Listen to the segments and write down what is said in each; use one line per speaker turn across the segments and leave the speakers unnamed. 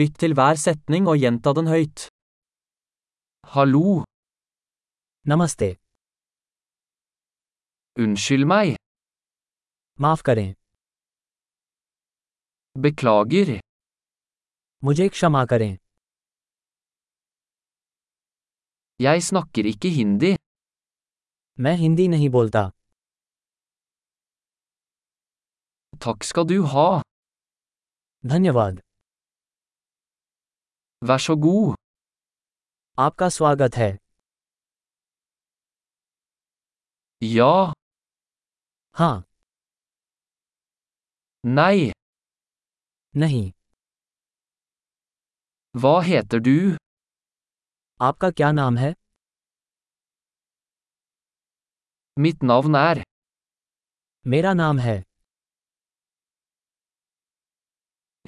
Lytt til hver setning og gjenta den høyt. Hallo,
नमस्ते
unnskyld meg,
माफ करें
beklager,
मुझे क्षमा करें
jeg snakker ikke hindi,
मैं हिंदी नहीं बोलता
takk skal du ha,
धन्यवाद
vær så god,
आपका स्वागत है
ja,
हाँ
nei,
नहीं
hva heter du,
आपका क्या नाम है
mitt navn er,
मेरा नाम है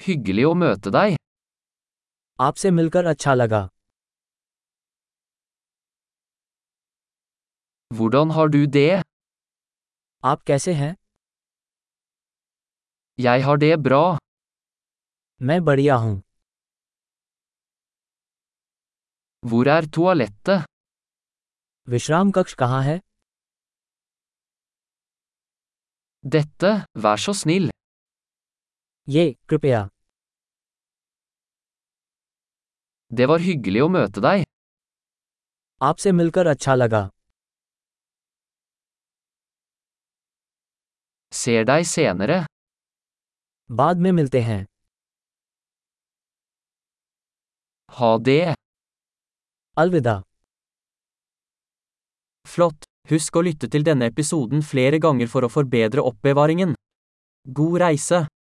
hyggelig å møte deg,
आपसे मिलकर अच्छा लगा
hvordan har du det,
आप कैसे हैं
jeg har det bra,
मैं बढ़िया हूँ
hvor er toalettet,
विश्राम कक्ष कहाँ है
dette, vær så snill,
ये कृपया
det var hyggelig å møte deg,
आपसे मिलकर अच्छा लगा
ser deg senere,
बाद में मिलते हैं
ha det,
अलविदा
flott, husk å lytte til denne episoden flere ganger for å forbedre oppbevaringen. God reise!